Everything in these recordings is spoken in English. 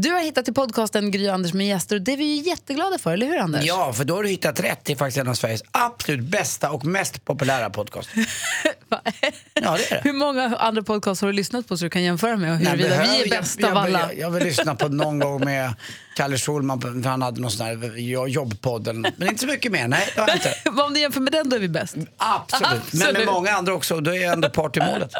Du har hittat till podcasten Gry och Anders med gäster och det är vi ju jätteglada för, eller hur Anders? Ja, för då har du hittat rätt till faktiskt en av Sveriges absolut bästa och mest populära podcast. Va? Ja, det är det. Hur många andra podcasts har du lyssnat på så du kan jämföra med och huruvida behöver- vi är bäst jag, av alla? Jag, jag vill lyssna på någon gång med Kalle Schulman, på- för han hade någon sån här jo- jobbpodd eller något. Men inte så mycket mer, nej det har jag inte. Vad Om du jämför med den, då är vi bäst. Absolut. Men med Absolut. många andra också, och då är jag ändå part i målet.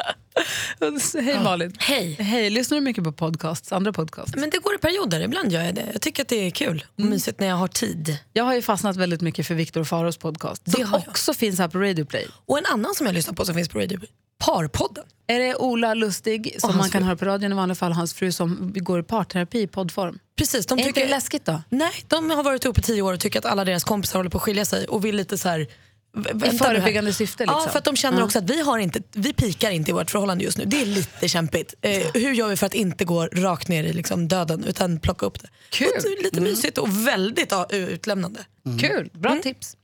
Hej Malin. Hej. Hej, lyssnar du mycket på podcasts, andra podcasts? Men det går i perioder. Ibland gör jag det. Jag tycker att det är kul och Mm. mysigt när jag har tid. Jag har ju fastnat väldigt mycket för Viktor Faros podcast Det som har jag. också finns här på Radio Play. Och en annan som jag lyssnar på som finns på radio, Parpodden. Är det Ola Lustig som Och hans man kan fru. höra på radion i vanliga fall, hans fru som går i parterapi i poddform? Precis, de Är inte det tycker... läskigt då? Nej, de har varit ihop i tio år och tycker att alla deras kompisar håller på att skilja sig och vill lite så här... I förebyggande syfte, liksom. Ja, för att de känner också att vi, har inte, vi pikar inte i vårt förhållande just nu. Det är lite kämpigt. Eh, hur gör vi för att inte gå rakt ner i liksom, döden utan plocka upp det? Kul. Mm. Och det är lite mysigt och väldigt ja, utlämnande. Kul, bra tips.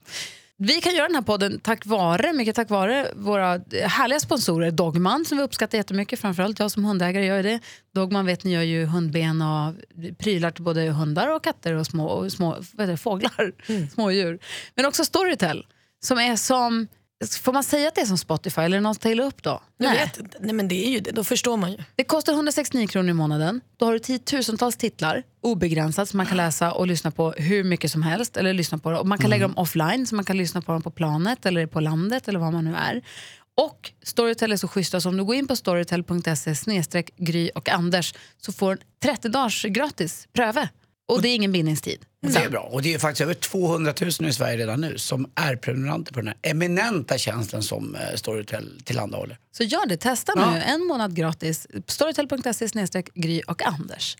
Vi kan göra den här podden tack vare, mycket tack vare våra härliga sponsorer Dogman som vi uppskattar jättemycket, framförallt jag som hundägare gör ju det. Dogman vet ni gör ju hundben och prylar till både hundar och katter och små, och små vad heter det, fåglar, smådjur. Men också Storytel som är som, får man säga att det är som Spotify eller någon till upp då? Jag vet inte. Nej, men det är ju det. Då förstår man ju. Det kostar 169 kronor i månaden. Då har du tiotusentals titlar, obegränsat, som man kan läsa och lyssna på hur mycket som helst. Eller lyssna på det. Och man kan Mm. lägga dem offline, så man kan lyssna på dem på planet eller på landet eller var man nu är. Och Storytel är så schyssta, så om du går in på storytel.se snedstreck gry och Anders så får du 30 dagars gratis pröve. Och det är ingen bindningstid. Och Det är bra. Och det är ju faktiskt över 200 000 i Sverige redan nu som är prenumeranter på den här eminenta tjänsten som eh, Storytel tillhandahåller. Så gör det, testa nu. En månad gratis. Storytel.se snedstreck Gry och Anders.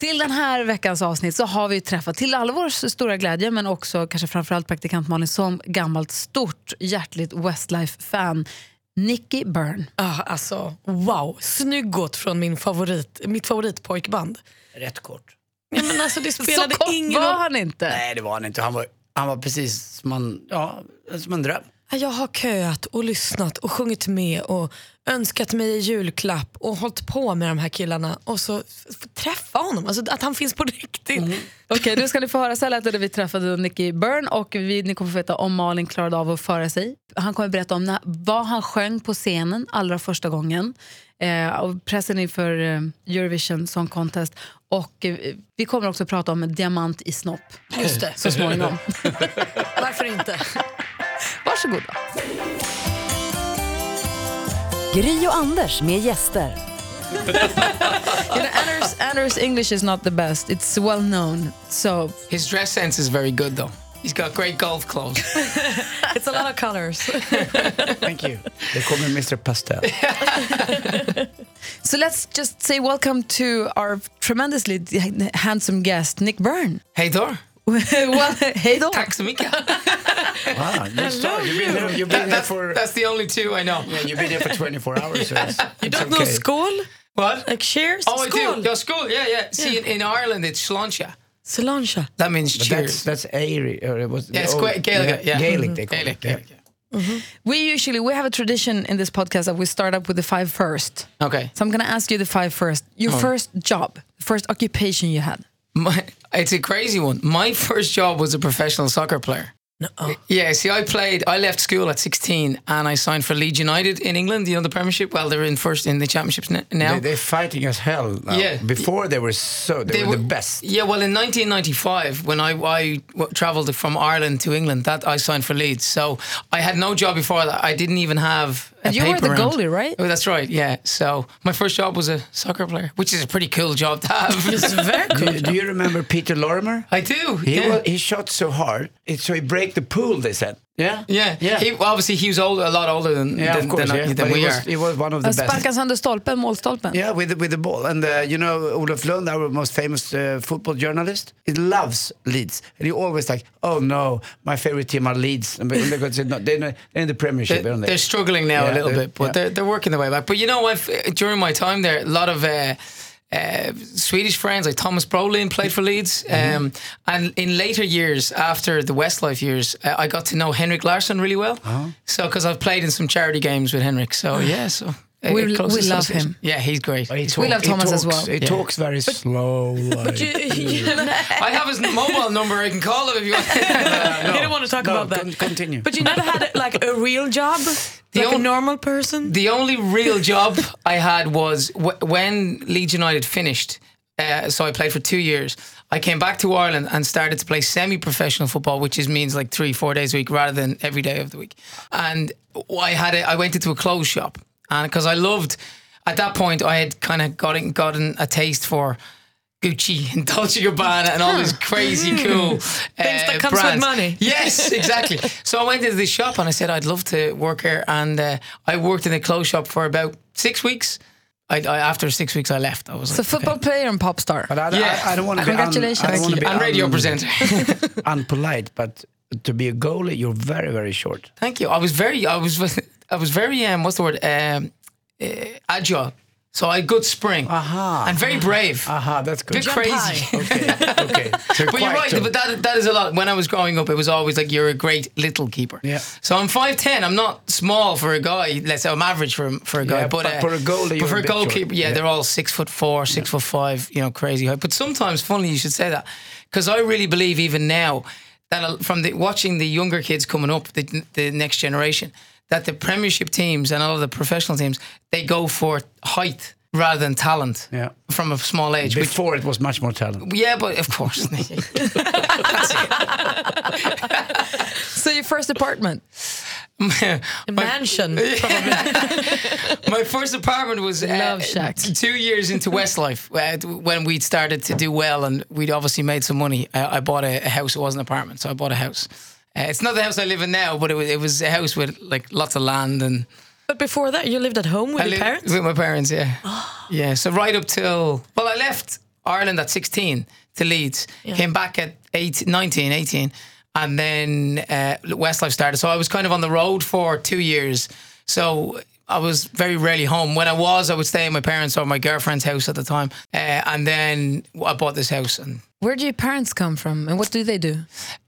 Till den här veckans avsnitt så har vi träffat, till all vår stora glädje men också kanske framförallt praktikant Malin som gammalt stort hjärtligt Westlife-fan, Nicky Byrne. Ah, alltså, wow, snyggot från min favorit, mitt favoritpojkband. Rätt kort. Ja, men alltså, det Så spelade kort ingen var roll. han inte. Nej, det var han inte. Han var, han var precis som en, ja, som en dröm. Jag har köat och lyssnat och sjungit med och önskat mig i julklapp och hållit på med de här killarna och så f- f- träffa honom, alltså, att han finns på riktigt. Okej, nu ska ni få höra så här lät det när vi träffade Nicky Byrne och vi, ni kommer få veta om Malin klarade av att föra sig. Han kommer berätta om när, vad han sjöng på scenen allra första gången. Eh, och pressen inför eh, Eurovision Song Contest. Och eh, vi kommer också prata om en diamant i snopp Just det. så småningom. Varför inte? Varsågoda. Gry och Anders med gäster. You know, Anders, Anders English is not the best, it's well known. So His dress sense is very good, though. He's got great golf clothes. It's a lot of colors. Thank you. Det kommer Mr Pastel. So let's just say welcome to our tremendously handsome guest, Nick Byrne. Hey, Thor. well, hej då! Tack så mycket. Wow, Ah, you star. You've been here, you've been here That's, for, that's the only two I know. you've been here for 24 hours. So it's, You it's don't know okay. skål? What? Like cheers? Oh, I skål! do. No, school. Yeah, yeah. See, in, in Ireland, it's sláinte. Solange. That means But that's, cheers. that's Airy. Or it was oh, yeah, it's quite Gaelic. Yeah. Mm-hmm. Gaelic they call Gaelic, it. yeah. Gaelic, yeah. We usually we have a tradition in this podcast that we start up with the five first. Okay. So I'm going to ask you the five first. Your Oh. first job, first occupation you had. My, it's a crazy one. My first job was a professional soccer player. No. Yeah, see, I played. I left school at 16, and I signed for Leeds United in England. You know the Premiership. Well, they're in first in the championships n- now. They, they're fighting as hell now. Yeah. Before they were so, they, were, the best. Yeah, well, in 1995, when I, I w- travelled from Ireland to England, that I signed for Leeds. So I had no job before that. I didn't even have. A And you were paper the round. goalie, right? Oh, that's right. Yeah. So my first job was a soccer player, which is a pretty cool job to have. Very Do, you- do you remember Peter Lorimer? I do. He, yeah. wa- he shot so hard, it, so he break the pool, they said. Yeah? yeah. Yeah, He, well, obviously, he was older, a lot older than, yeah than, of course. than, yeah. than But he, we was, are. he was one of the best. Sparkas under stolpen, målstolpen. Yeah, with the, with the ball. And uh, you know, Olof Lund, our most famous uh, football journalist, he loves Leeds. And he always like, oh no, my favorite team are Leeds. And because no, they're, not, they're in the Premiership, They- aren't they? They're struggling now Yeah, a little they're- bit, but yeah. they're, they're working their way back. But you know, I've, during my time there, a lot of uh, uh, Swedish friends like Thomas Brolin played for Leeds. Mm-hmm. Um, and in later years, after the Westlife years, uh, Oh. I got to know Henrik Larsson really well. So, because I've played in some charity games with Henrik. So, yeah, so. a We- close we love association. him. Yeah, he's great. He We talk- love he Thomas as talks, well. He Yeah. talks very slow. Like. I have his mobile number. I can call him if you want. You don't want to talk No, about that. con- continue. But you never had like a real job, like a on- normal person. the only real job I had was w- when Leeds United finished. Uh, so I played for two years. I came back to Ireland and started to play semi-professional football, which is means like three, four days a week rather than every day of the week. And I had a, I went into a clothes shop, and because I loved, at that point I had kind of gotten gotten a taste for Gucci and Dolce Gabbana and all these crazy cool uh, things that comes with money. Yes, exactly. so I went into the shop and I said I'd love to work here, and uh, I worked in a clothes shop for about six weeks. I, I, after six weeks, I left. I was So like, football player and pop star. But I, don't- Yeah. I, I don't want to be. un- I don't Congratulations. wanna be and radio un- presenter. Unpolite, but to be a goalie, you're very, very short. Thank you. I was very, I was, I was very, um, what's the word? Um, uh, agile. So I had good spring. Aha. Uh, And very brave. Aha, that's good. Bit crazy. high. Okay, okay. So But you're quite right. short. But that, that is a lot. When I was growing up, it was always like you're a great little keeper. Yeah. So I'm five ten. I'm not small for a guy. Let's say I'm average for a- for a guy. Yeah, but, but uh, for a goalie, but you're for a a bit short. goalkeeper, yeah, Yeah. they're all six foot four, six foot five. You know, crazy height. But sometimes, funny you should say that, because I really believe even now that a- from the, watching the younger kids coming up, the, the next generation, that the Premiership teams and all of the professional teams they go for height rather than talent. Yeah. From a small age, which Before it was much more talent. yeah, but of course. so your first apartment. Mansion. My first apartment was uh, Love shack. t- two years into Westlife uh, t- when we'd started to do well and we'd obviously made some money. Uh, I, I bought a, a house. It wasn't an apartment, so I bought a house. Uh, it's not the house I live in now, but it was, it was a house with like lots of land and But before that, you lived at home with I your lived parents. with my parents. Yeah, yeah. So right up till well, I left Ireland at 16 to Leeds, came back at 18, 19, 18, and then uh, Westlife started. So I was kind of on the road for two years. So I was very rarely home. When I was, I would stay in my parents' or my girlfriend's house at the time, uh, and then I bought this house and Where do your parents come from and what do they do?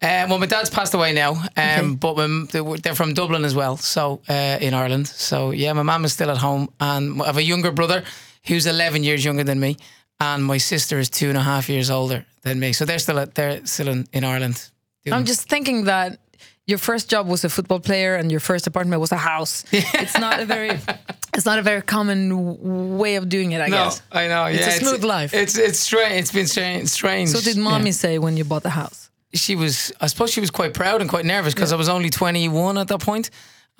uh, well, my dad's passed away now, um, but my, m- they were- they're from Dublin as well, so uh, in Ireland. So yeah, my mum is still at home, and I have a younger brother who's 11 years younger than me, and my sister is two and a half years older than me. So they're still at, they're still in, in Ireland. I'm just thinking that your first job was a football player and your first apartment was a house. it's not a very it's not a very common w- way of doing it, I guess. Oh, I know. It's a yeah, it's- smooth life. It's it's strange. It's been strange. strange. So what did mommy say when you bought the house? she was I suppose she was quite proud and quite nervous because I was only 21 at that point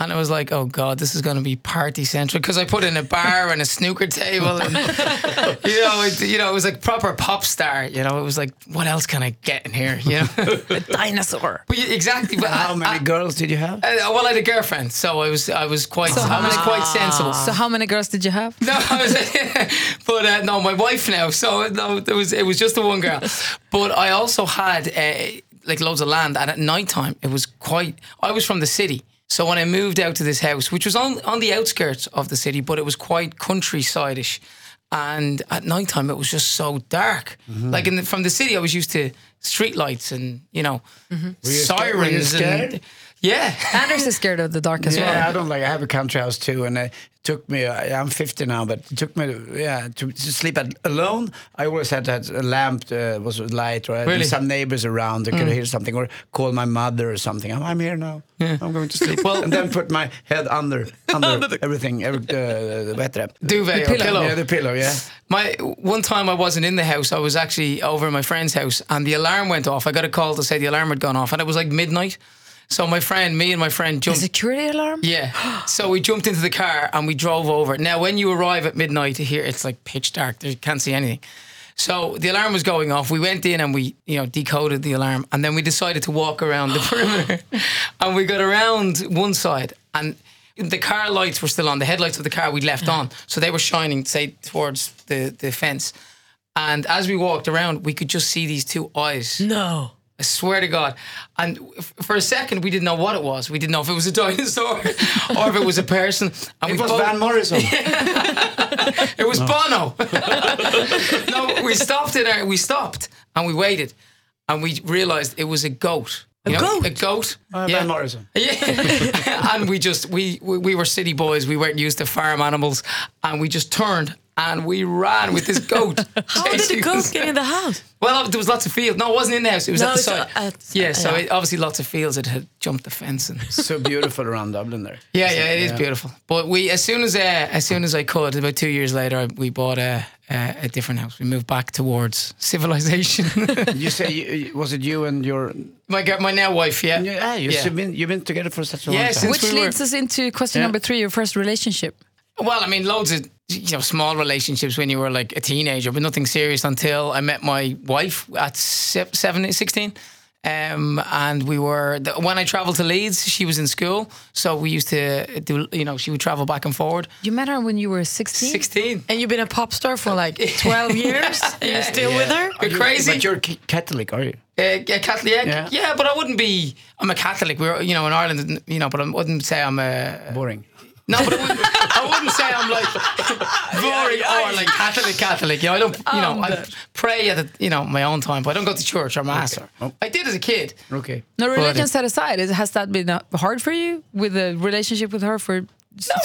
and I was like oh god this is going to be party central because I put in a bar and a snooker table and you know it, you know it was like proper pop star you know it was like what else can I get in here you know A dinosaur. But yeah, exactly but How I- many I- girls did you have? I- well I had a girlfriend so I was I was quite I was quite sensible So how many girls did you have? no, I was, but uh, no, my wife now. So no, it was it was just the one girl. But I also had uh, like loads of land, and at night time it was quite. I was from the city, so when I moved out to this house, which was on on the outskirts of the city, but it was quite countryside-ish. And at night time it was just so dark. Mm-hmm. Like in the, from the city, I was used to street lights and you know you sca- Mm-hmm. were you sirens and scared? yeah. Anders is scared of the dark as well. Yeah, I don't like. I have a country house too, and uh, it took me. I- I'm 50 now, but it took me, yeah, to, to sleep at, alone. I always had that a lamp uh, was light, or I had Really? Mm. some neighbors around that could hear something, or call my mother or something. "Oh, I'm, I'm here now. I'm going to sleep. Well- and then put my head under under everything, every, uh, the wet wrap. Duvet or pillow. Yeah, the pillow. Yeah. My one time I wasn't in the house. I was actually over at my friend's house, and the alarm went off. I got a call to say the alarm had gone off, and it was like midnight. So my friend, me and my friend A jumped. security alarm? yeah. So we jumped into the car and we drove over. Now, when you arrive at midnight here, it's like pitch dark. You can't see anything. So the alarm was going off. We went in and we, you know, decoded the alarm, and then we decided to walk around the perimeter. and we got around one side, and the car lights were still on. The headlights of the car we'd left on, so they were shining, say, towards the the fence. And as we walked around, we could just see these two eyes. No. I swear to God. And f- for a second, we didn't know what it was. We didn't know if it was a dinosaur or if it was a person. And It we was both- Van Morrison. Uh, it was Bono. uh, no, we stopped it. We stopped and we waited, and we realized it was a goat. A goat? A goat. Uh, Ben Morrison. Yeah. and we just we, we we were city boys. We weren't used to farm animals, and we just turned and we ran with this goat. How did the goat get in the house? Well, there was lots of fields. No, it wasn't in the house. It was No, at the it's side. at- yeah, so yeah. It, obviously lots of fields. It had jumped the fence and so beautiful around Dublin there. yeah, yeah, it is beautiful. But we, as soon as uh, as soon as I could, about two years later, I, we bought a, a a different house. We moved back towards civilization. You say, you, was it you and your... my girl- my now wife, yeah, Yeah, you yeah. have been, you've been together for such a Yeah, long time. since Which we were- leads us into question Yeah. number three, your first relationship. Well, I mean, loads of you know small relationships when you were like a teenager, but nothing serious until I met my wife at se- seven, 16. Um, and we were the, when I traveled to Leeds, she was in school, so we used to do you know she would travel back and forward. You met her when you were 16? Sixteen, And you've been a pop star for like 12 years? and you're still with her? You're crazy. But you're c- Catholic, are you? Uh, yeah, Catholic. Yeah, Yeah. yeah, but I wouldn't be. I'm a Catholic. We're you know in Ireland, you know, but I wouldn't say I'm a. Boring. No, but I wouldn't, I wouldn't say I'm like boring or like Catholic. Catholic. You know, I don't. You know, I pray at the, you know my own time, but I don't go to church or mass. Or, I did as a kid. Okay. No, it- religion set aside, is- has that been uh, hard for you with the relationship with her for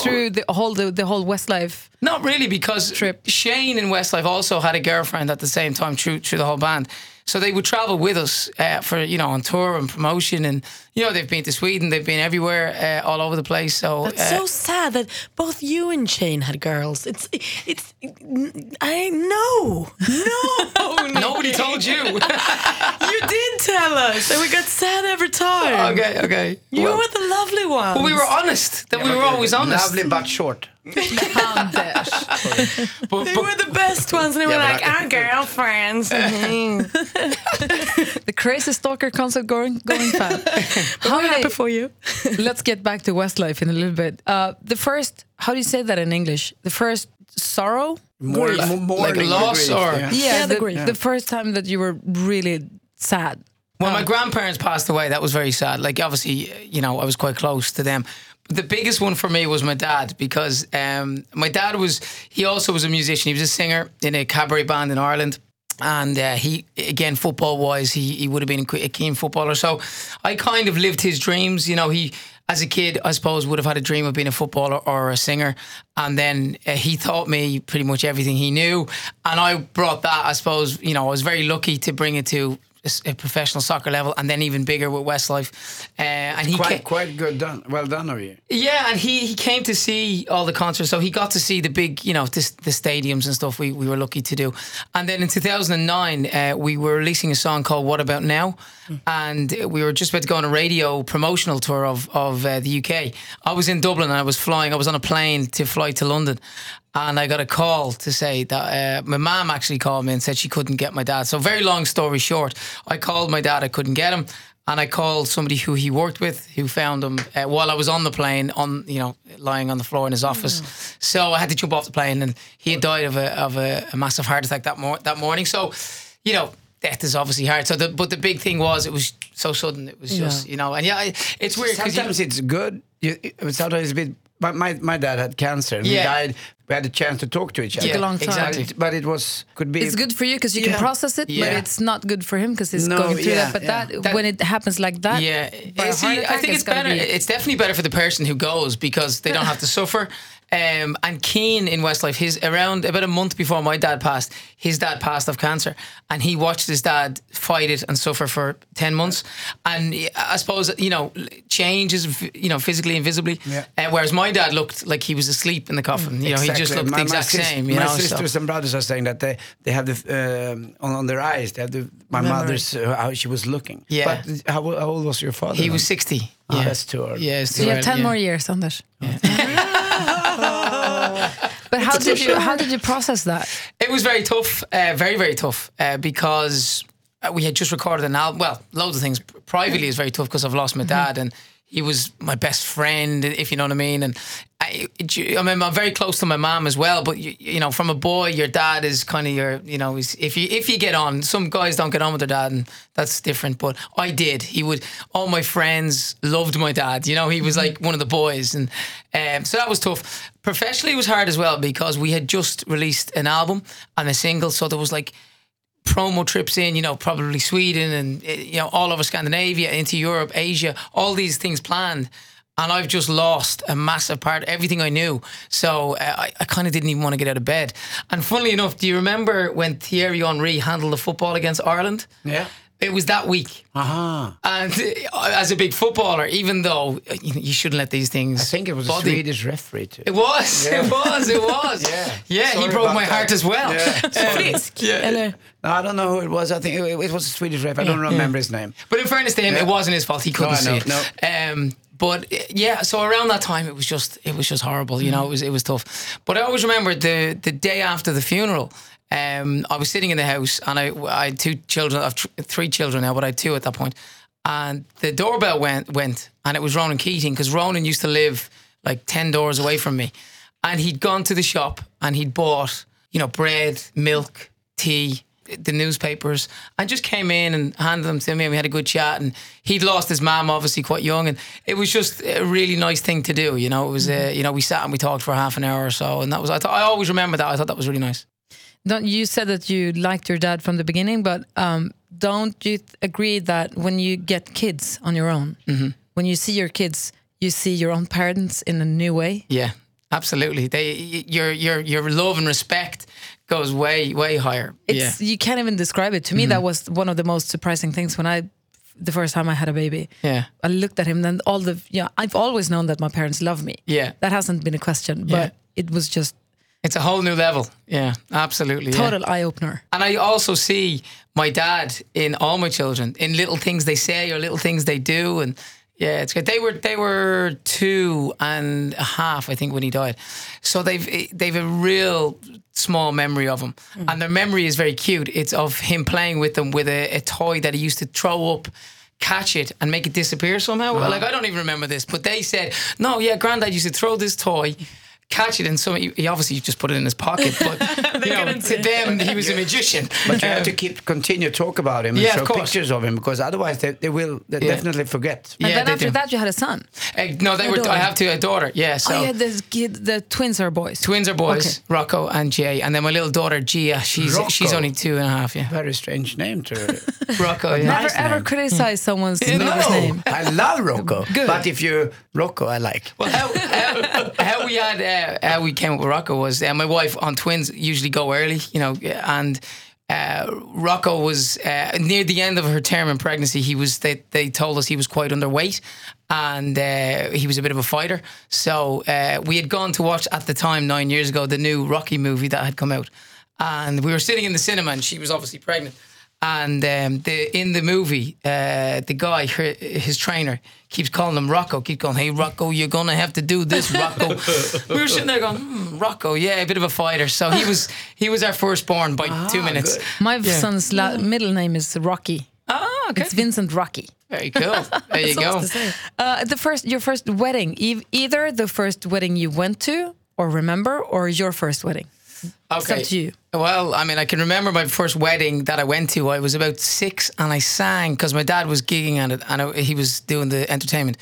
through the whole the, the whole Westlife? Not really, because Trip. Shane in Westlife also had a girlfriend at the same time through through the whole band. So they would travel with us uh, for you know on tour and promotion, and you know they've been to Sweden, they've been everywhere, uh, all over the place. So That's uh, so sad that both you and Shane had girls. It's, it's, I know. No. nobody told you. you did tell us. And we got sad every time. Okay, okay. You well, were the lovely one. we were honest. That we were always honest. Lovely but short. But, They but- were the best ones. And they were but like, I- our girlfriends. Mhm. The crazy stalker concert going going fan. How We're happy did for you. I- let's get back to Westlife in a little bit. Uh, the first, how do you say that in English? The first sorrow. More, Grief. mo- more Like than loss grief, or- yeah. Yeah, the the, grief. the first time that you were really sad. when my grandparents passed away, that was very sad. Like obviously, you know, I was quite close to them. But the biggest one for me was my dad because um, my dad was he also was a musician. He was a singer in a cabaret band in Ireland. And uh, he, again, football wise, he, he would have been a keen footballer. So I kind of lived his dreams. You know, he, as a kid, I suppose, would have had a dream of being a footballer or a singer. And then uh, he taught me pretty much everything he knew. And I brought that, I suppose, you know, I was very lucky to bring it to a s- a professional soccer level and then even bigger with Westlife. Uh, and he Quite, ca- quite good done. Well done of you. yeah, and he, he came to see all the concerts, so he got to see the big, you know, this, the stadiums and stuff. We, we were lucky to do, and then in 2009 uh, we were releasing a song called "What About Now," and we were just about to go on a radio promotional tour of of uh, the UK. I was in Dublin and I was flying. I was on a plane to fly to London, and I got a call to say that uh, my mom actually called me and said she couldn't get my dad. So very long story short, I called my dad. I couldn't get him and I called somebody who he worked with, who found him uh, while I was on the plane, on you know, lying on the floor in his office. So I had to jump off the plane, and he had died of a of a, a massive heart attack that mor- that morning. So, you know, death is obviously hard. So, the, but the big thing was it was so sudden. It was just you know, and yeah, I- it's weird. 'cause you- Sometimes it's good. You, it- sometimes it's a bit. My, my, my dad had cancer and Yeah. he died. We had a chance to talk to each other. yeah, a long time. But Exactly. it, but it was could be. It's good for you because you can Yeah. process it, but Yeah. it's not good for him because he's No, going through yeah, that. But yeah. that, That- when it happens like that, Yeah, by a It's- heart I attack, think it's gotta better. eh, be- It's definitely better for the person who goes because they don't have to suffer. Um, and Keane in Westlife, his around about a month before my dad passed, his dad passed of cancer, and he watched his dad fight it and suffer for ten months. And eh, I suppose you know, change is you know physically and visibly. Yeah. Uh, whereas my dad looked like he was asleep in the coffin. You know, he just looked My- the my exact sis- same. You my know, so- sisters and brothers are saying that they, they have the um, on, on their eyes. They have the, my mother's uh, how she was looking. Yeah. But how, how old was your father? he then? was sixty. Ah, that's too early. Yeah, it's Oh, So too you have early, ten yeah. more years, Anders. but how did you how did you process that? It was very tough, uh, very very tough, uh, because uh, we had just recorded an album. Well, loads of things privately is very tough because I've lost my dad, and he was my best friend, if you know what I mean. And I, I mean, I'm very close to my mom as well. But you, you know, from a boy, your dad is kind of your, you know, he's, if you if you get on, some guys don't get on with their dad, and that's different. But I did. He would. All my friends loved my dad. You know, he was like one of the boys, and um, so that was tough. Professionally, it was hard as well because we had just released an album and a single, so there was like promo trips in, you know, probably Sweden and, eh, you know, all over Scandinavia, into Europe, Asia, all these things planned. And I've just lost a massive part, everything I knew. So uh, I, I kind of didn't even want to get out of bed. And funnily enough, do you remember when Thierry Henry handled the football against Ireland? Yeah. It was that week. Uh-huh. Aha. And uh, as a big footballer, even though uh, you, you shouldn't let these things. I think it was bother a you. Swedish referee too. It was, it was, it was. Yeah. he Sorry broke about my that. heart as well. Yeah. Frisk, eller? No, I don't know who it was. I think it, it was a Swedish referee. I don't remember his name. But in fairness to him, Yeah. it wasn't his fault. He I couldn't see know, it. Um, but uh, yeah, so around that time, it was just it was just horrible. You know, it was it was tough. But I always remember the the day after the funeral. Um, I was sitting in the house, and I I had two children. I've tr- three children now, but I had two at that point. And the doorbell went went, and it was Ronan Keating because Ronan used to live like ten doors away from me, and he'd gone to the shop and he'd bought you know bread, milk, tea, the newspapers and just came in and handed them to me and we had a good chat and he'd lost his mom obviously quite young and it was just a really nice thing to do you know it was uh, you know we sat and we talked for half an hour or so and that was I thought I always remember that I thought that was really nice don't you said that you liked your dad from the beginning but um, don't you th- agree that when you get kids on your own Mm-hmm. when you see your kids you see your own parents in a new way yeah absolutely they y- your your your love and respect goes way way higher it's you can't even describe it to me that Mm-hmm. was one of the most surprising things when i the first time i had a baby yeah i looked at him and all the yeah i've always known that my parents love me yeah yeah that hasn't been a question Yeah. but it was just it's a whole new level yeah absolutely yeah. total eye-opener And I also see my dad in all my children, in little things they say or little things they do. And yeah, it's good. They were they were two and a half, I think, when he died. So they've they've a real small memory of him, and their memory is very cute. It's of him playing with them with a, a toy that he used to throw up. Catch it and make it disappear somehow. Like I don't even remember this, but they said, "No, yeah, Granddad used to throw this toy, catch it, and so he he obviously just put it in his pocket." But you know, to them, he was a magician. But you have to keep continue talk about him and Yeah, of show course. pictures of him because otherwise they, they will they definitely forget. and Yeah, then they after do. that you had a son Uh, no, they A were. I daughter. have to a daughter. Yeah, so. oh yeah this kid the twins are boys Twins are boys, Okay. Rocco and Jay, and then my little daughter Gia. She's Rocco. she's only two and a half. Yeah, Very strange name to Rocco. Yeah. Never ever name. Oh, criticize Mm. someone's baby's name. I love Rocco. Good. But if you Rocco, I like. Well, how, how, how we had uh, how we came up with Rocco was uh, my wife on twins usually go early, you know, and uh, Rocco was uh, near the end of her term in pregnancy. He was they they told us he was quite underweight and uh, he was a bit of a fighter. So uh, we had gone to watch at the time nine years ago the new Rocky movie that had come out, and we were sitting in the cinema and she was obviously pregnant. And um, the in the movie, uh, the guy, her, his trainer, keeps calling him Rocco. Keep going, hey Rocco, you're gonna have to do this, Rocco. we were sitting there going, hmm, Rocco, yeah, a bit of a fighter. So he was he was our firstborn by two minutes. My son's la- middle name is Rocky. Ah, okay, It's Vincent Rocky. very cool. There you go. Uh, the first, your first wedding, e- either the first wedding you went to or remember, or your first wedding. Okay. up to you. Well, I mean, I can remember my first wedding that I went to. I was about six, and I sang because my dad was gigging at it, and I, he was doing the entertainment,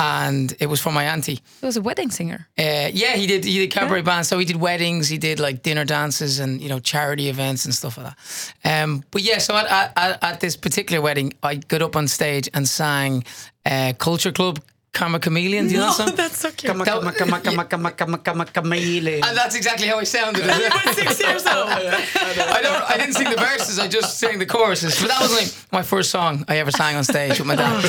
and it was for my auntie. He was a wedding singer. Uh, yeah, he did. He did cabaret bands. So he did weddings. He did like dinner dances and you know charity events and stuff like that. Um, but yeah, so at, at- at, at this particular wedding, I got up on stage and sang uh, Culture Club Karma Chameleon. Do you know that song? That's so cute. Maka, maka, maka, maka, maka, maka, maka, maile. And that's exactly how I sounded. Six years old. I don't. I didn't sing the verses. I just sang the choruses. But that was like my first song I ever sang on stage with my dad.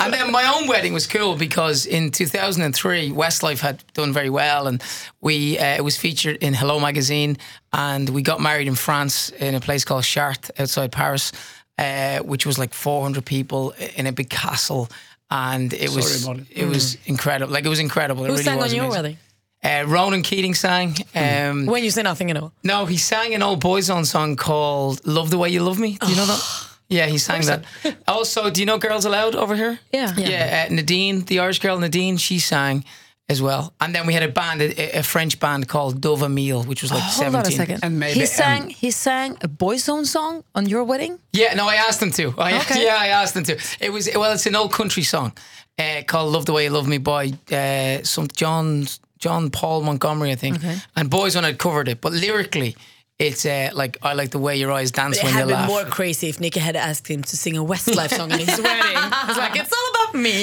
And then my own wedding was cool because in 2003, Westlife had done very well, and we uh, it was featured in Hello magazine, and we got married in France in a place called Chartres outside Paris, uh, which was like 400 people in a big castle. And it was Sorry, Molly. it was incredible. Like it was incredible. It Mm. Who really sang was on your amazing. wedding? Uh, Ronan Keating sang. Um, When you say nothing at all. no, he sang an old boys' own song called "Love the Way You Love Me." Do you know Oh. that? Yeah, he sang that. Also, do you know "Girls Aloud" over here? Yeah. yeah. uh, Nadine, the Irish girl Nadine, she sang as well. And then we had a band, a, a French band called Dove Emile, which was like Oh, Hold on a seventeen. second. And maybe- he sang. he sang a boy's own song on your wedding. Yeah, no, I asked him to. I, Okay. Yeah, I asked him to. It was well, it's an old country song uh, called "Love the Way You Love Me" by uh, some John John Paul Montgomery, I think. And Boys One had covered it, but lyrically, It's uh, like I like the way your eyes dance It when you had been laugh. more crazy if Nicky had asked him to sing a Westlife song at his wedding. It's like, it's all about me.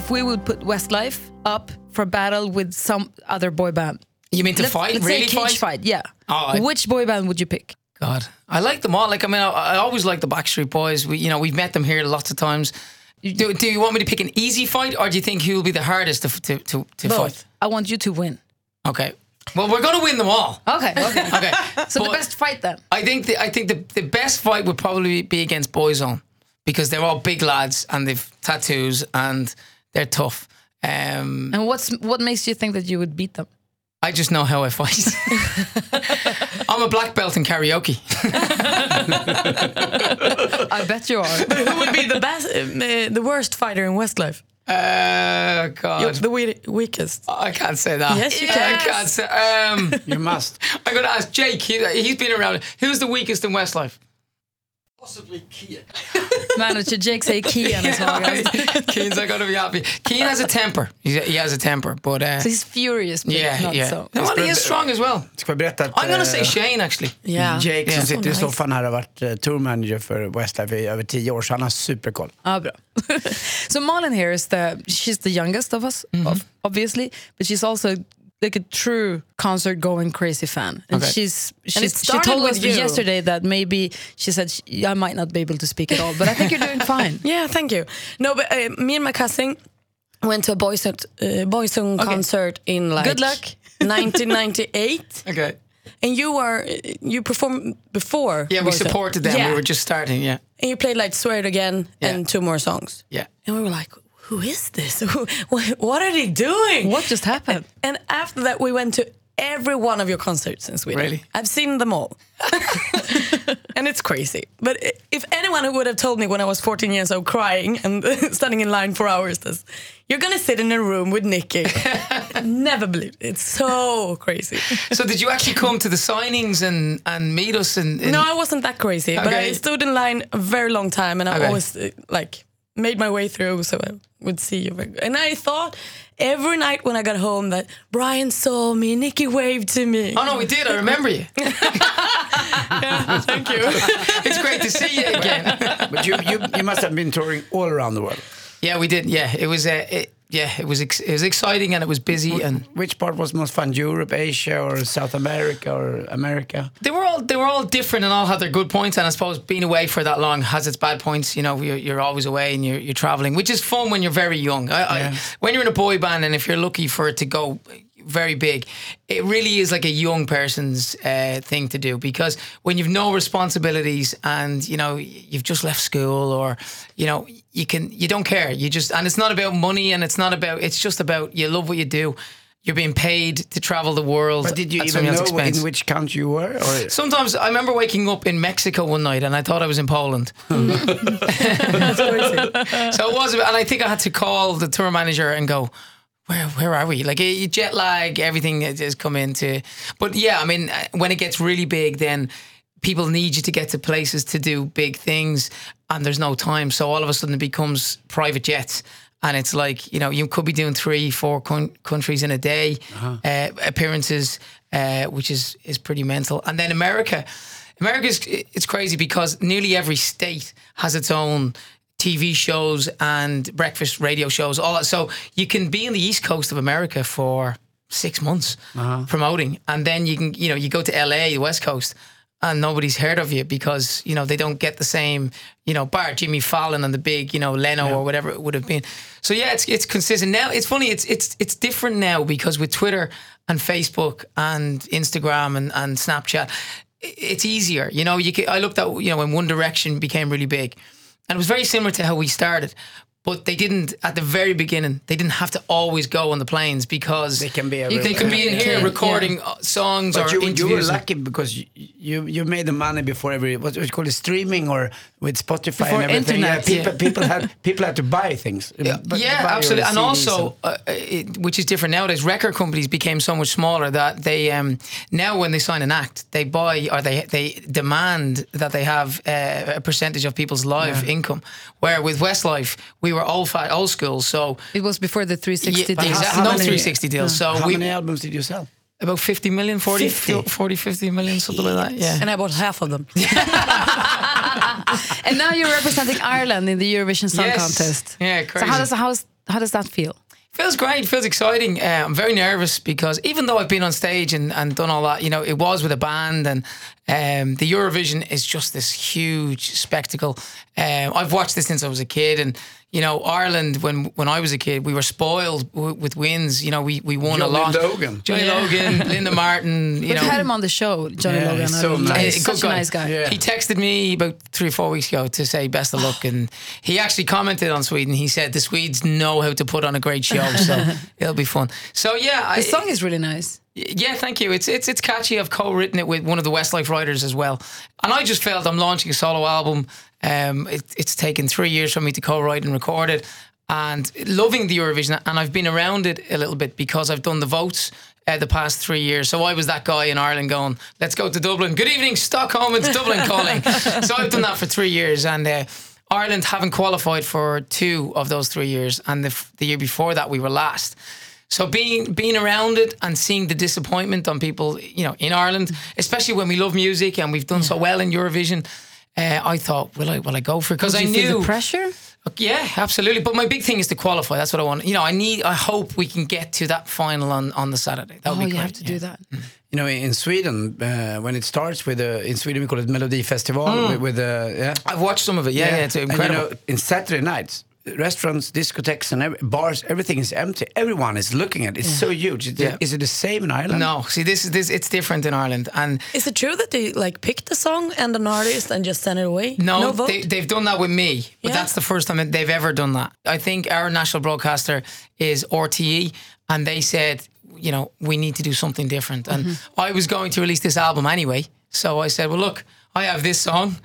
If we would put Westlife up for battle with some other boy band, You mean to let's, fight? let's really say cage fight, yeah. Oh, I- Which boy band would you pick? God, I like them all. Like I mean, I, I always like the Backstreet Boys. We, you know, we've met them here lots of times. Do, do you want me to pick an easy fight, or do you think who will be the hardest to to to, to fight? I want you to win. Okay. Well, we're gonna win them all. Okay, okay. Okay. so the But- best fight then. I think the, I think the, the best fight would probably be against Boyzone because they're all big lads and they've tattoos and they're tough. Um, And what's what makes you think that you would beat them? I just know how I fight. I'm a black belt in karaoke. I bet you are. Who would be the best, uh, the worst fighter in Westlife? Uh, Uh, You're God, the we- weakest. I can't say that. Yes, you I can. can't say. Um, You must. I gotta ask Jake. He, he's been around. Who's the weakest in Westlife? Manager Jake säger Kian är svagast. Keen's. I gotta be happy. Keen has a temper. He's a, he has a temper, but uh, He's furious, but yeah, not yeah. so. No, well, he is strong as well. Ska jag berätta att I'm gonna eh, say Shane actually. Yeah. Jake som Oh, sitter i nice. soffan här har varit eh, tourmanager för Westlife i över tio år så han har superkoll. Ah, bra. so Malin here is the she's the youngest of us, of, Mm-hmm. obviously, but she's also like a true concert going crazy fan. And Okay. she's, And it she's she started told us with you. yesterday that maybe she said she, I might not be able to speak at all, but I think you're doing fine. Yeah, thank you. No, but uh, me and my cousin went to a boys' uh, boys' own concert in like Good luck. 1998, Okay. and you were you performed before. Yeah, we Boys Own. supported them. Yeah. We were just starting. Yeah, and you played like "Swear It Again" Yeah. and two more songs. yeah. And we were like, "Who is this? Who- wh- what are they doing?" What just happened? And after that, we went to every one of your concerts in Sweden. Really? I've seen them all. and it's crazy. But i- if anyone who would have told me when I was 14 years old crying and standing in line for hours, this, you're going to sit in a room with Nikki. Never believed it. It's so crazy. So did you actually come to the signings and and meet us? And, and No, I wasn't that crazy, but Okay. I stood in line a very long time, and I Okay. always uh, like made my way through so I would see you. And I thought every night when I got home that Brian saw me, Nikki waved to me. oh no, we did. I remember you. thank you. It's great to see you again. But you, you, you must have been touring all around the world. yeah, we did. Yeah, it was. Uh, it, yeah, it was. Ex- it was exciting and it was busy and. Which part was most fun? Europe, Asia or South America or America? they were all they were all different and all had their good points. And I suppose being away for that long has its bad points. You know, you're, you're always away and you're, you're traveling, which is fun when you're very young. I, I, when you're in a boy band and if you're lucky for it to go very big, it really is like a young person's uh, thing to do because when you've no responsibilities and you know you've just left school or you know you can you don't care. You just and it's not about money and it's not about it's just about you love what you do. You're being paid to travel the world. But did you at even someone know else's expense. in which country you were? Or? Sometimes I remember waking up in Mexico one night and I thought I was in Poland. so it was, and I think I had to call the tour manager and go, "Where, where are we?" Like eh, jet lag, everything has has come into. But yeah, I mean, eh, when it gets really big, then people need you to get to places to do big things, and there's no time. So all of a sudden, it becomes private jets. And it's like you know you could be doing three, four coun- countries in a day, uh appearances, uh, which is is pretty mental. And then America, America's it's crazy because nearly every state has its own TV shows and breakfast radio shows. All that. so you can be in the East Coast of America for six months promoting, and then you can you know you go to LA, the West Coast. And nobody's heard of you because you know they don't get the same you know bar Jimmy Fallon and the big you know Leno or whatever it would have been. So yeah, it's it's consistent now. It's funny. It's it's it's different now because with Twitter and Facebook and Instagram and, and Snapchat, i- it's easier. You know, you can, I looked at you know when One Direction became really big, and it was very similar to how we started, but they didn't at the very beginning. They didn't have to always go on the planes because they can be they everywhere. can be in Yeah. here Yeah. recording uh, songs But or you, you were interviews. lucky because you, you you made the money before every what you call it streaming or with Spotify Before and everything. internet, yeah, people, yeah. people had people had to buy things. bu- buy yeah, your absolutely. And CDs also, uh, it, which is different nowadays, record companies became so much smaller that they um, now when they sign an act, they buy or they they demand that they have uh, a percentage of people's live income. Where with Westlife, we were old fa- old school, so It was before the 360 Yeah, days. exactly. How no many- 360 deals. how so uh, we many albums did you sell? about 50 million, 40, 50. 40 50 million, something like that. Yeah. And I bought half of them. And now you're representing Ireland in the Eurovision Song Yes. Contest. Yeah, So how crazy. does how's, how does that feel? Feels great. Feels exciting. Uh, I'm very nervous because even though I've been on stage and, and done all that, you know, it was with a band, and um, the Eurovision is just this huge spectacle. Um, I've watched this since I was a kid, and you know, Ireland when when I was a kid, we were spoiled w- with wins. You know, we we won a Johnny lot. Logan. Johnny Logan, Linda Martin. You We've know, had him on the show, Johnny Yeah, Logan. he's so I love him. nice. Um, He's Good such a nice guy. Yeah. He texted me about three or four weeks ago to say best of luck, and he actually commented on Sweden. He said the Swedes know how to put on a great show, so it'll be fun. So yeah, I, The song is really nice. yeah, thank you. It's it's it's catchy. I've co-written it with one of the Westlife writers as well, and I just felt I'm launching a solo album. Um, it, it's taken three years for me to co-write and record it, and loving the Eurovision. And I've been around it a little bit because I've done the votes. Uh, the past three years, so I was that guy in Ireland going, "Let's go to Dublin." Good evening, Stockholm. It's Dublin calling. so I've done that for three years, and uh, Ireland haven't qualified for two of those three years, and the, f- the year before that we were last. So being being around it and seeing the disappointment on people, you know, in Ireland, especially when we love music and we've done so well in Eurovision, uh, I thought, will I will I go for it? Because I Do you feel knew, the pressure? yeah, absolutely. But my big thing is to qualify. That's what I want. You know, I need, I hope we can get to that final on on the Saturday. That would Oh, be you great. have to do that. You know, in Sweden, uh, when it starts with the, in Sweden we call it Melodifestival with, with the, yeah. I've watched some of it. Mm. Yeah, yeah, it's And, incredible. you know, in Saturday nights, restaurants, discotheques, and ev- bars, everything is empty. Everyone is looking at it. It's so huge. Is, it- Yeah. is it the same in Ireland? no, see, this is this. It's different in Ireland, and Is it true that they like picked a song and an artist and just sent it away? No, vote. They, they've done that with me, but Yeah. that's the first time that they've ever done that. I think our national broadcaster is RTE, and they said, you know, we need to do something different. And Mm-hmm. I was going to release this album anyway, so I said, well, look, I have this song.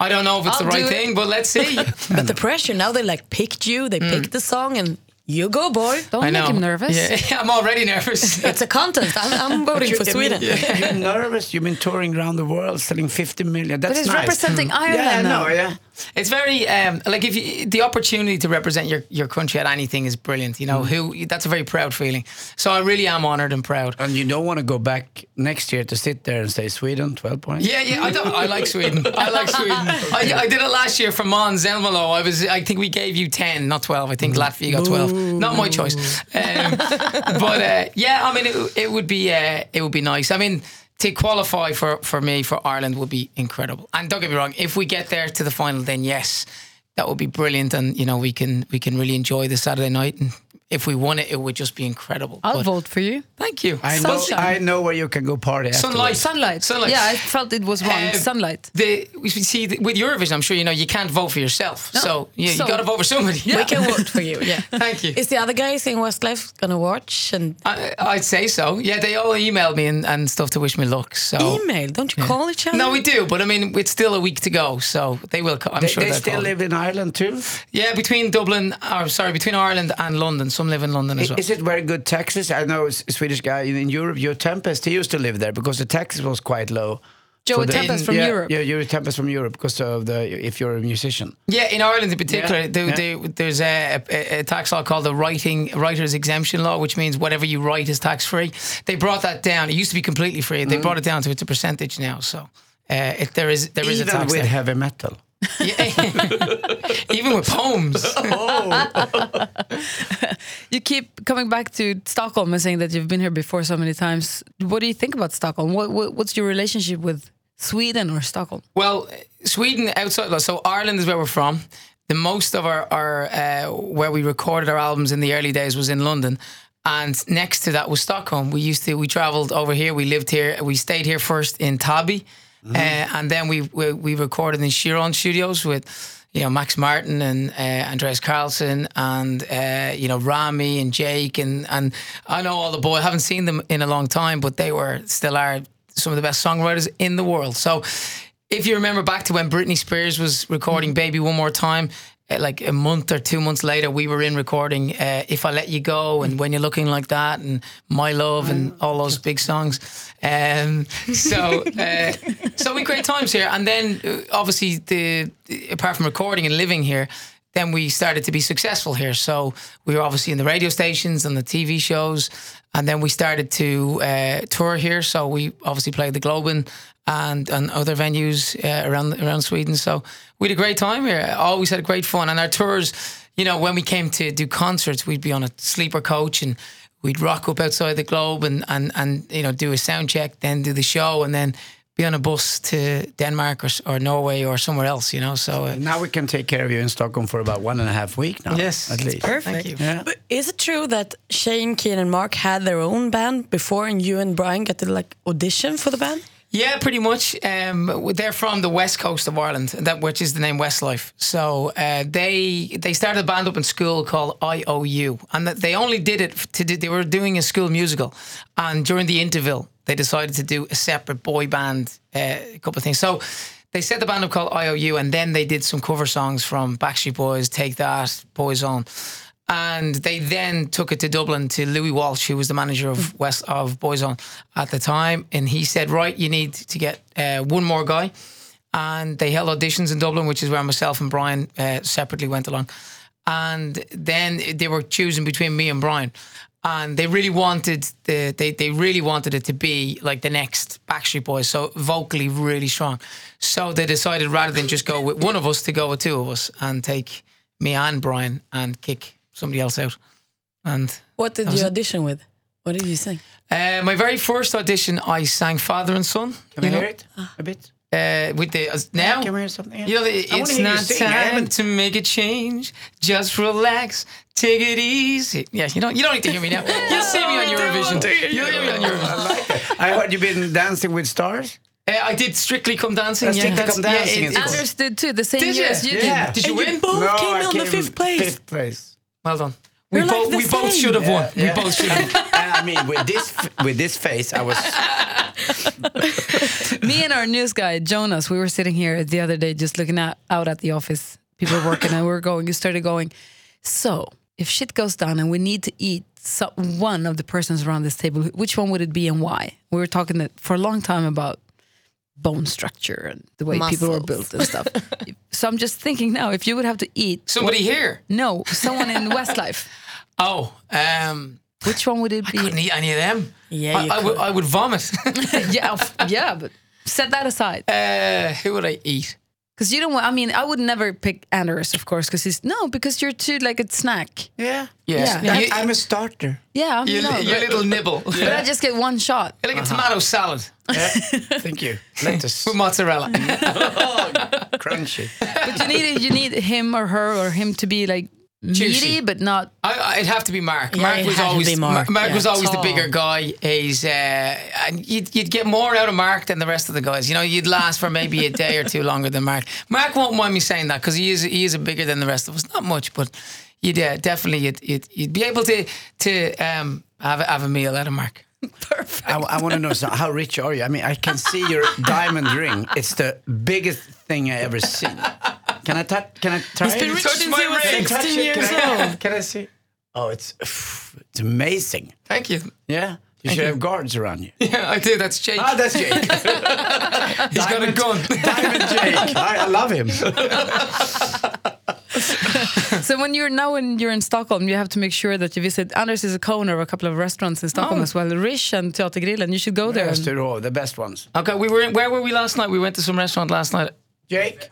I don't know if it's I'll the right do it. thing, but let's see. but the pressure now they like picked you. Mm. They picked the song and you go, boy. Don't I know. make him nervous. Yeah, I'm already nervous. It's a contest. I'm, I'm voting for Sweden. You're nervous. You've been touring around the world, selling 50 million. That's But he's nice. Hmm. representing Ireland yeah, I now. know, yeah. It's very um, like if you, the opportunity to represent your, your country at anything is brilliant. You Mm. know who that's a very proud feeling. So I really am honoured and proud. And you don't want to go back next year to sit there and say Sweden, 12 points. Yeah, yeah, I, don't, I like Sweden. I like Sweden. I, I did it last year for Mons Elmelo. I was, I think we gave you ten, not twelve. I think Latvia got twelve. Not my choice. Um, but uh, yeah, I mean, it, it would be, uh, it would be nice. I mean, to qualify for for me for Ireland would be incredible. And don't get me wrong, if we get there to the final, then yes, that would be brilliant. And you know, we can we can really enjoy the Saturday night. And if we won it, it would just be incredible. I'll But vote for you. Thank you. I know, Sunshine. I know where you can go party. Sunlight. afterwards. Sunlight. Sunlight. Yeah, I felt it was wrong. Uh, Sunlight. the we should see with Eurovision, I'm sure you know you can't vote for yourself. So you, So- you got to vote for somebody. We can vote for you. Yeah. Thank you. Is the other guys in Westlife gonna watch and I, I'd say so. Yeah, they all emailed me and, and stuff to wish me luck. So email? Don't you call each other? Oh. no, we do, but I mean it's still a week to go, so they will. co- I'm They, sure they they'll still call. live in Ireland too? Yeah, between Dublin, or sorry, between Ireland and London. Some live in London as well. Is it very good taxes? I know a S- Swedish guy in, in Europe, Joe Tempest, he used to live there because the taxes was quite low. Joe for the- Tempest from yeah, Europe. Yeah, Joe Tempest from Europe because of the if you're a musician. Yeah, in Ireland in particular, Yeah, there- yeah. there- there's a, a, a tax law called the writing writer's exemption law, which means whatever you write is tax free. They brought that down. It used to be completely free. Mm. They brought it down to it's a percentage now. So uh, it, there is there is Even a tax with there. heavy metal. Yeah. Even with poems. You keep coming back to Stockholm and saying that you've been here before so many times. What do you think about Stockholm? What, what, what's your relationship with Sweden or Stockholm? Well, Sweden outside, so Ireland is where we're from. The most of our, our uh, where we recorded our albums in the early days was in London, and next to that was Stockholm. We used to we travelled over here. We lived here. We stayed here first in Tabi, uh, and then we, we we recorded in Chiron Studios with. You know Max Martin and uh, Andreas Carlson and uh, you know Rami and Jake and and I know all the boys. I haven't seen them in a long time, but they were still are some of the best songwriters in the world. So if you remember back to when Britney Spears was recording Baby One More Time, eh, like a month or two months later, we were in recording uh, If I Let You Go and When You're Looking Like That and My Love and all those big songs. Um, so, uh, eh, so we had great times here. And then uh, obviously, the apart from recording and living here, then we started to be successful here. So we were obviously in the radio stations and the TV shows, and then we started to uh, tour here. So we obviously played the Globen and and other venues uh, around around Sweden. So we had a great time here. Always had great fun, and our tours. You know, when we came to do concerts, we'd be on a sleeper coach and we'd rock up outside the globe and, and, and you know do a sound check, then do the show, and then be on a bus to Denmark or, s- or Norway or somewhere else. You know, so uh, Now we can take care of you in Stockholm for about one and a half week now. Yes. at It's least. Perfect. you. Yeah. But is it true that Shane, Keen, and Mark had their own band before, and you and Brian got to like audition for the band? Yeah, pretty much. Um, they're from the west coast of Ireland, that which is the name Westlife. So uh, they they started a band up in school called IOU, and that they only did it to do, they were doing a school musical, and during the interval they decided to do a separate boy band, uh, a couple of things. So they set the band up called IOU, and then they did some cover songs from Backstreet Boys, Take That, Boys On. And they then took it to Dublin to Louis Walsh, who was the manager of West of Boys On at the time, and he said, "Right, you need to get uh, one more guy." And they held auditions in Dublin, which is where myself and Brian uh, separately went along. And then they were choosing between me and Brian, and they really wanted the they they really wanted it to be like the next Backstreet Boys, so vocally really strong. So they decided rather than just go with one of us, to go with two of us and take me and Brian and kick somebody else out. And What did you audition with? What did you sing? uh, my very first audition, I sang Father and Son. Can we you know, hear it a bit? Uh, with the uh, now. Can we hear something? You know, the, I wanna it's hear you not sing. I time haven't- to make a change. Just relax, take it easy. Yeah, you don't you don't need to hear me now. You'll see me on Eurovision. You'll hear me on Eurovision. I heard you've been dancing with stars. Uh, I did Strictly Come Dancing. That's yeah, Strictly that's- Come yeah, Dancing, it- it's it's- called. Anders did too, the same Did year you? as you did. Yeah. Did you And you win? both came I on the fifth place. Fifth place. Well done. We We're like both the we both same. should have won. Yeah. We both should have. won. I mean, with this with this face, I was. Me and our news guy Jonas, we were sitting here the other day, just looking at, out at the office. People were working, and we were going. You started going. So, if shit goes down and we need to eat so, one of the persons around this table, wh- which one would it be and why? We were talking that for a long time about bone structure and the way people were Muscles. built and stuff. so I'm just thinking now, if you would have to eat, Somebody here. no, someone in Westlife, Oh, um, which one would it be? couldn't eat any of them. Yeah, I, you I would- I would vomit. yeah, f- yeah, but set that aside. uh, who would I eat? Because you don't want, I mean, I would never pick Anders, of course, because he's, no, because you're too like a snack. Yeah. Yes. Yeah. You- I'm a starter. Yeah, I you, mean, no, your but, little nibble. but I just get one shot. Like a Uh-huh. tomato salad Thank you. Lettuce. with mozzarella. Mm-hmm. Crunchy. But you need you need him or her or him to be like meaty, Juicy. but not. I, it'd have to be Mark. Yeah, Mark it was had to always be Mark, Mark yeah. was always Tall. the bigger guy. He's uh, and you'd, you'd get more out of Mark than the rest of the guys. You know, you'd last for maybe a day or two longer than Mark. Mark won't mind me saying that because he is he is a bigger than the rest of us. Not much, but you'd uh, definitely you'd, you'd you'd be able to to um, have a, have a meal out of Mark. I, want to know so how rich are you? I mean, I can see your diamond ring. It's the biggest thing I ever seen. Can I touch? Can I try? been it? rich touch since my he was ring. Touch 16 it? years Can I- old. Can I see? Oh, it's it's amazing. Thank you. Yeah, you should have guards around you. Yeah, I do. That's Jake. Ah, that's Jake. He's got a gun. Diamond Jake. I, I love him. So when you're now when you're in Stockholm, you have to make sure that you visit. Anders is a co-owner of a couple of restaurants in Stockholm Oh. as well, Rish and Teatergrillen. You should go there. and- Österå, the best ones. okay, we were in, where were we last night? We went to some restaurant last night. Jake.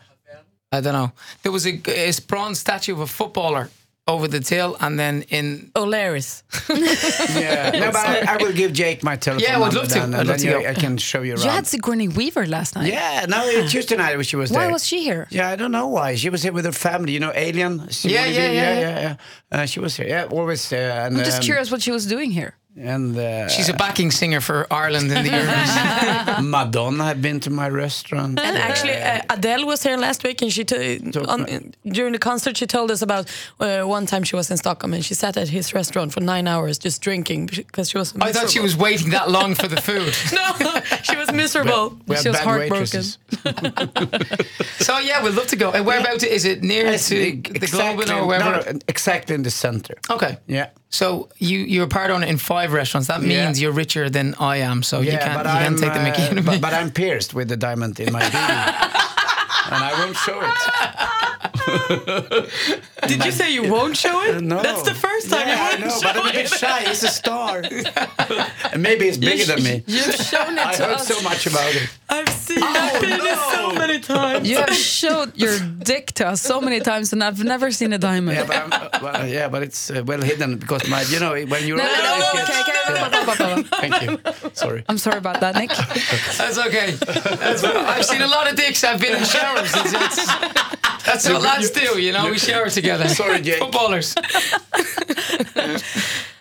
I don't know. There was a, a bronze statue of a footballer over the till, and then in Oh, O'Leary's. Yeah. No, but I, I will give Jake my telephone. Yeah, I would number love to. then, I'd And love then to you, go. I can show you around. you had Sigourney Weaver last night. Yeah, no, it- Tuesday night when she was Why there. was she here? Yeah, I don't know why. She was here with her family, you know, Alien. Sigourney Yeah, yeah, Weaver, yeah, yeah, yeah, yeah. Uh, she was here. Yeah, always. Uh, and, I'm just um, curious what she was doing here. And uh, She's a backing singer for Ireland in the Eurovision. Madonna had been to my restaurant. And actually, uh, Adele was here last week, and she t- on, during the concert she told us about uh, one time she was in Stockholm and she sat at his restaurant for nine hours just drinking because she was. I thought she was waiting that long for the food. no, she was miserable. we had she was bad oh, heartbroken. waitresses. So yeah, we'd love to go. And whereabouts is it near Yes, to e- the Globe or no, wherever? no, exactly in the center. Okay. Yeah. So you you're a part owner in five restaurants. That Yeah. means you're richer than I am. So you can't you I'm, can't take the Mickey uh, out of me. but, but I'm pierced with the diamond in my beard. and I won't show it. Did you say you won't show it? No. That's the first time yeah, you I won't know, show but I'm a bit it. shy. He's a star. and maybe he's bigger than me. You've shown it I to heard us. so much about it. I've seen Oh, that penis so many times. You have showed your dick to us so many times, and I've never seen a diamond. Yeah, but, I'm, uh, well, yeah, but it's uh, well hidden because my, you know, when you're. No, no, no, okay, okay, okay. Thank you. Sorry. I'm sorry about that, Nick. That's okay. That's, I've seen a lot of dicks. I've been in showers. It's, it's- that's what lads do, you know. We shower together. Sorry, Jake. Footballers.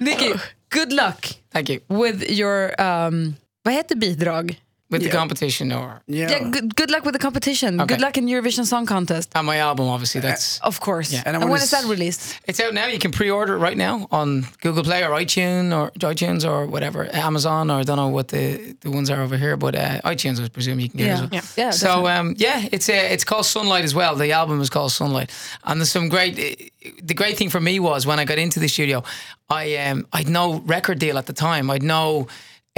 Nicky, good luck Thank you. with your, um, vad heter bidrag? With the competition or Yeah. Yeah, good, good luck with the competition. Okay. Good luck in Eurovision Song Contest. and my album, obviously. Uh, That's Of course. And I And, wanna when is that s- released? it's out now. You can pre-order it right now on Google Play or iTunes or iTunes or whatever Amazon or I don't know what the, the ones are over here, but uh, iTunes I presume you can get it. Yeah. As well. Yeah. Yeah, so um, yeah, it's uh, it's called Sunlight as well. The album is called Sunlight, and there's some great. The great thing for me was when I got into the studio, I um I'd no record deal at the time. I'd no.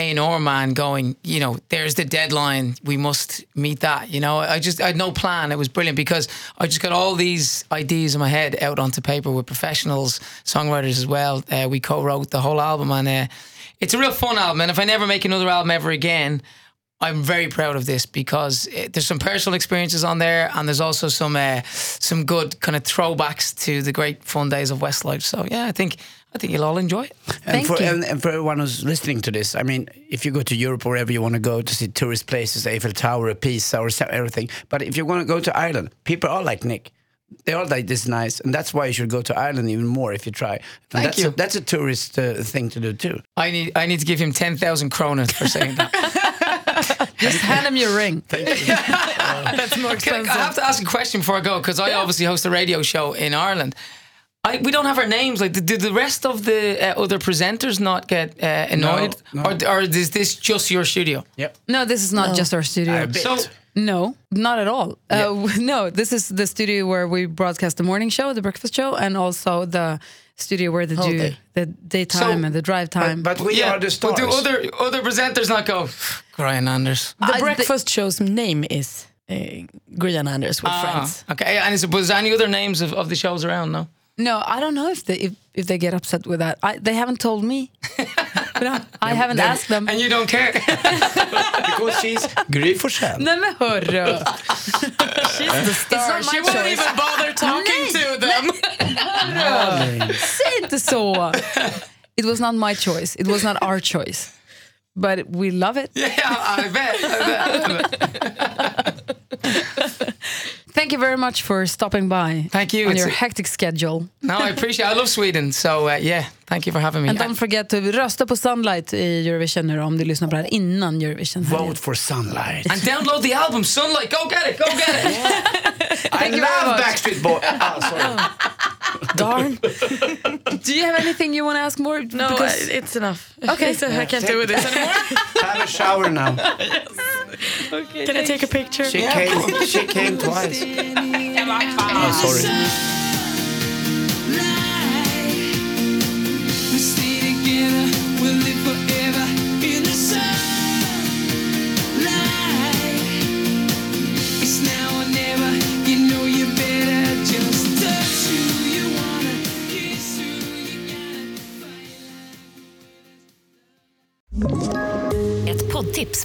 A and R man going, you know, there's the deadline. We must meet that. You know, I just I had no plan. It was brilliant because I just got all these ideas in my head out onto paper with professionals, songwriters as well. Uh, we co-wrote the whole album, and uh, it's a real fun album. And if I never make another album ever again, I'm very proud of this because eh, there's some personal experiences on there, and there's also some uh, some good kind of throwbacks to the great fun days of Westlife. So yeah, I think I think you'll all enjoy it. And Thank for, you. And, and for everyone who's listening to this, I mean, if you go to Europe or wherever you want to go to see tourist places, Eiffel Tower, Pisa, or so- everything, but if you want to go to Ireland, people are like Nick. They are like this nice, and that's why you should go to Ireland even more if you try. And Thank that's A, you. that's a tourist uh, thing to do too. I need I need to give him ten thousand kronas for saying that. Just hand him your ring. That's more expensive. I have to ask a question before I go because I obviously host a radio show in Ireland. I, we don't have our names. Like, do the rest of the uh, other presenters not get uh, annoyed, No, or or is this just your studio? Yep. No, this is not just our studio. So No, not at all. Uh, no, this is the studio where we broadcast the morning show, the breakfast show, and also the studio where they do day. the daytime Oh, So- and the drive time. But we yeah, are the but stars. do other other presenters not go? Brian Anders. The I- breakfast show's name is uh, Grian Anders with friends. Ah, okay, and is, was there any other names of, of the shows around? No. no, I don't know if they if, if they get upset with that. I, they haven't told me. You know, I haven't asked them. And you don't care. because she's Gry Forssell. Nej men hörru! She won't even bother talking to them. Säg inte så! It was not my choice. It was not our choice. But we love it. yeah, I bet. I bet. Thank you very much for stopping by. Thank you. On It's- your hectic schedule. No, I appreciate. I love Sweden. So uh, yeah, thank you for having me. And don't forget to typ, rösta på Sunlight i Eurovision nu då, om du lyssnar på det här innan Eurovision. Vote for sunlight. and download the album Sunlight. Go get it. Go get it. I you very love much. Backstreet Boys. Ah, sorry. Darn. Do you have anything you want to ask more? No, Because- I- it's enough. Okay. It's- I can't do with this anymore. Have a shower now. Can I take a picture? She came. She came twice. Ah, sorry. Ett poddtips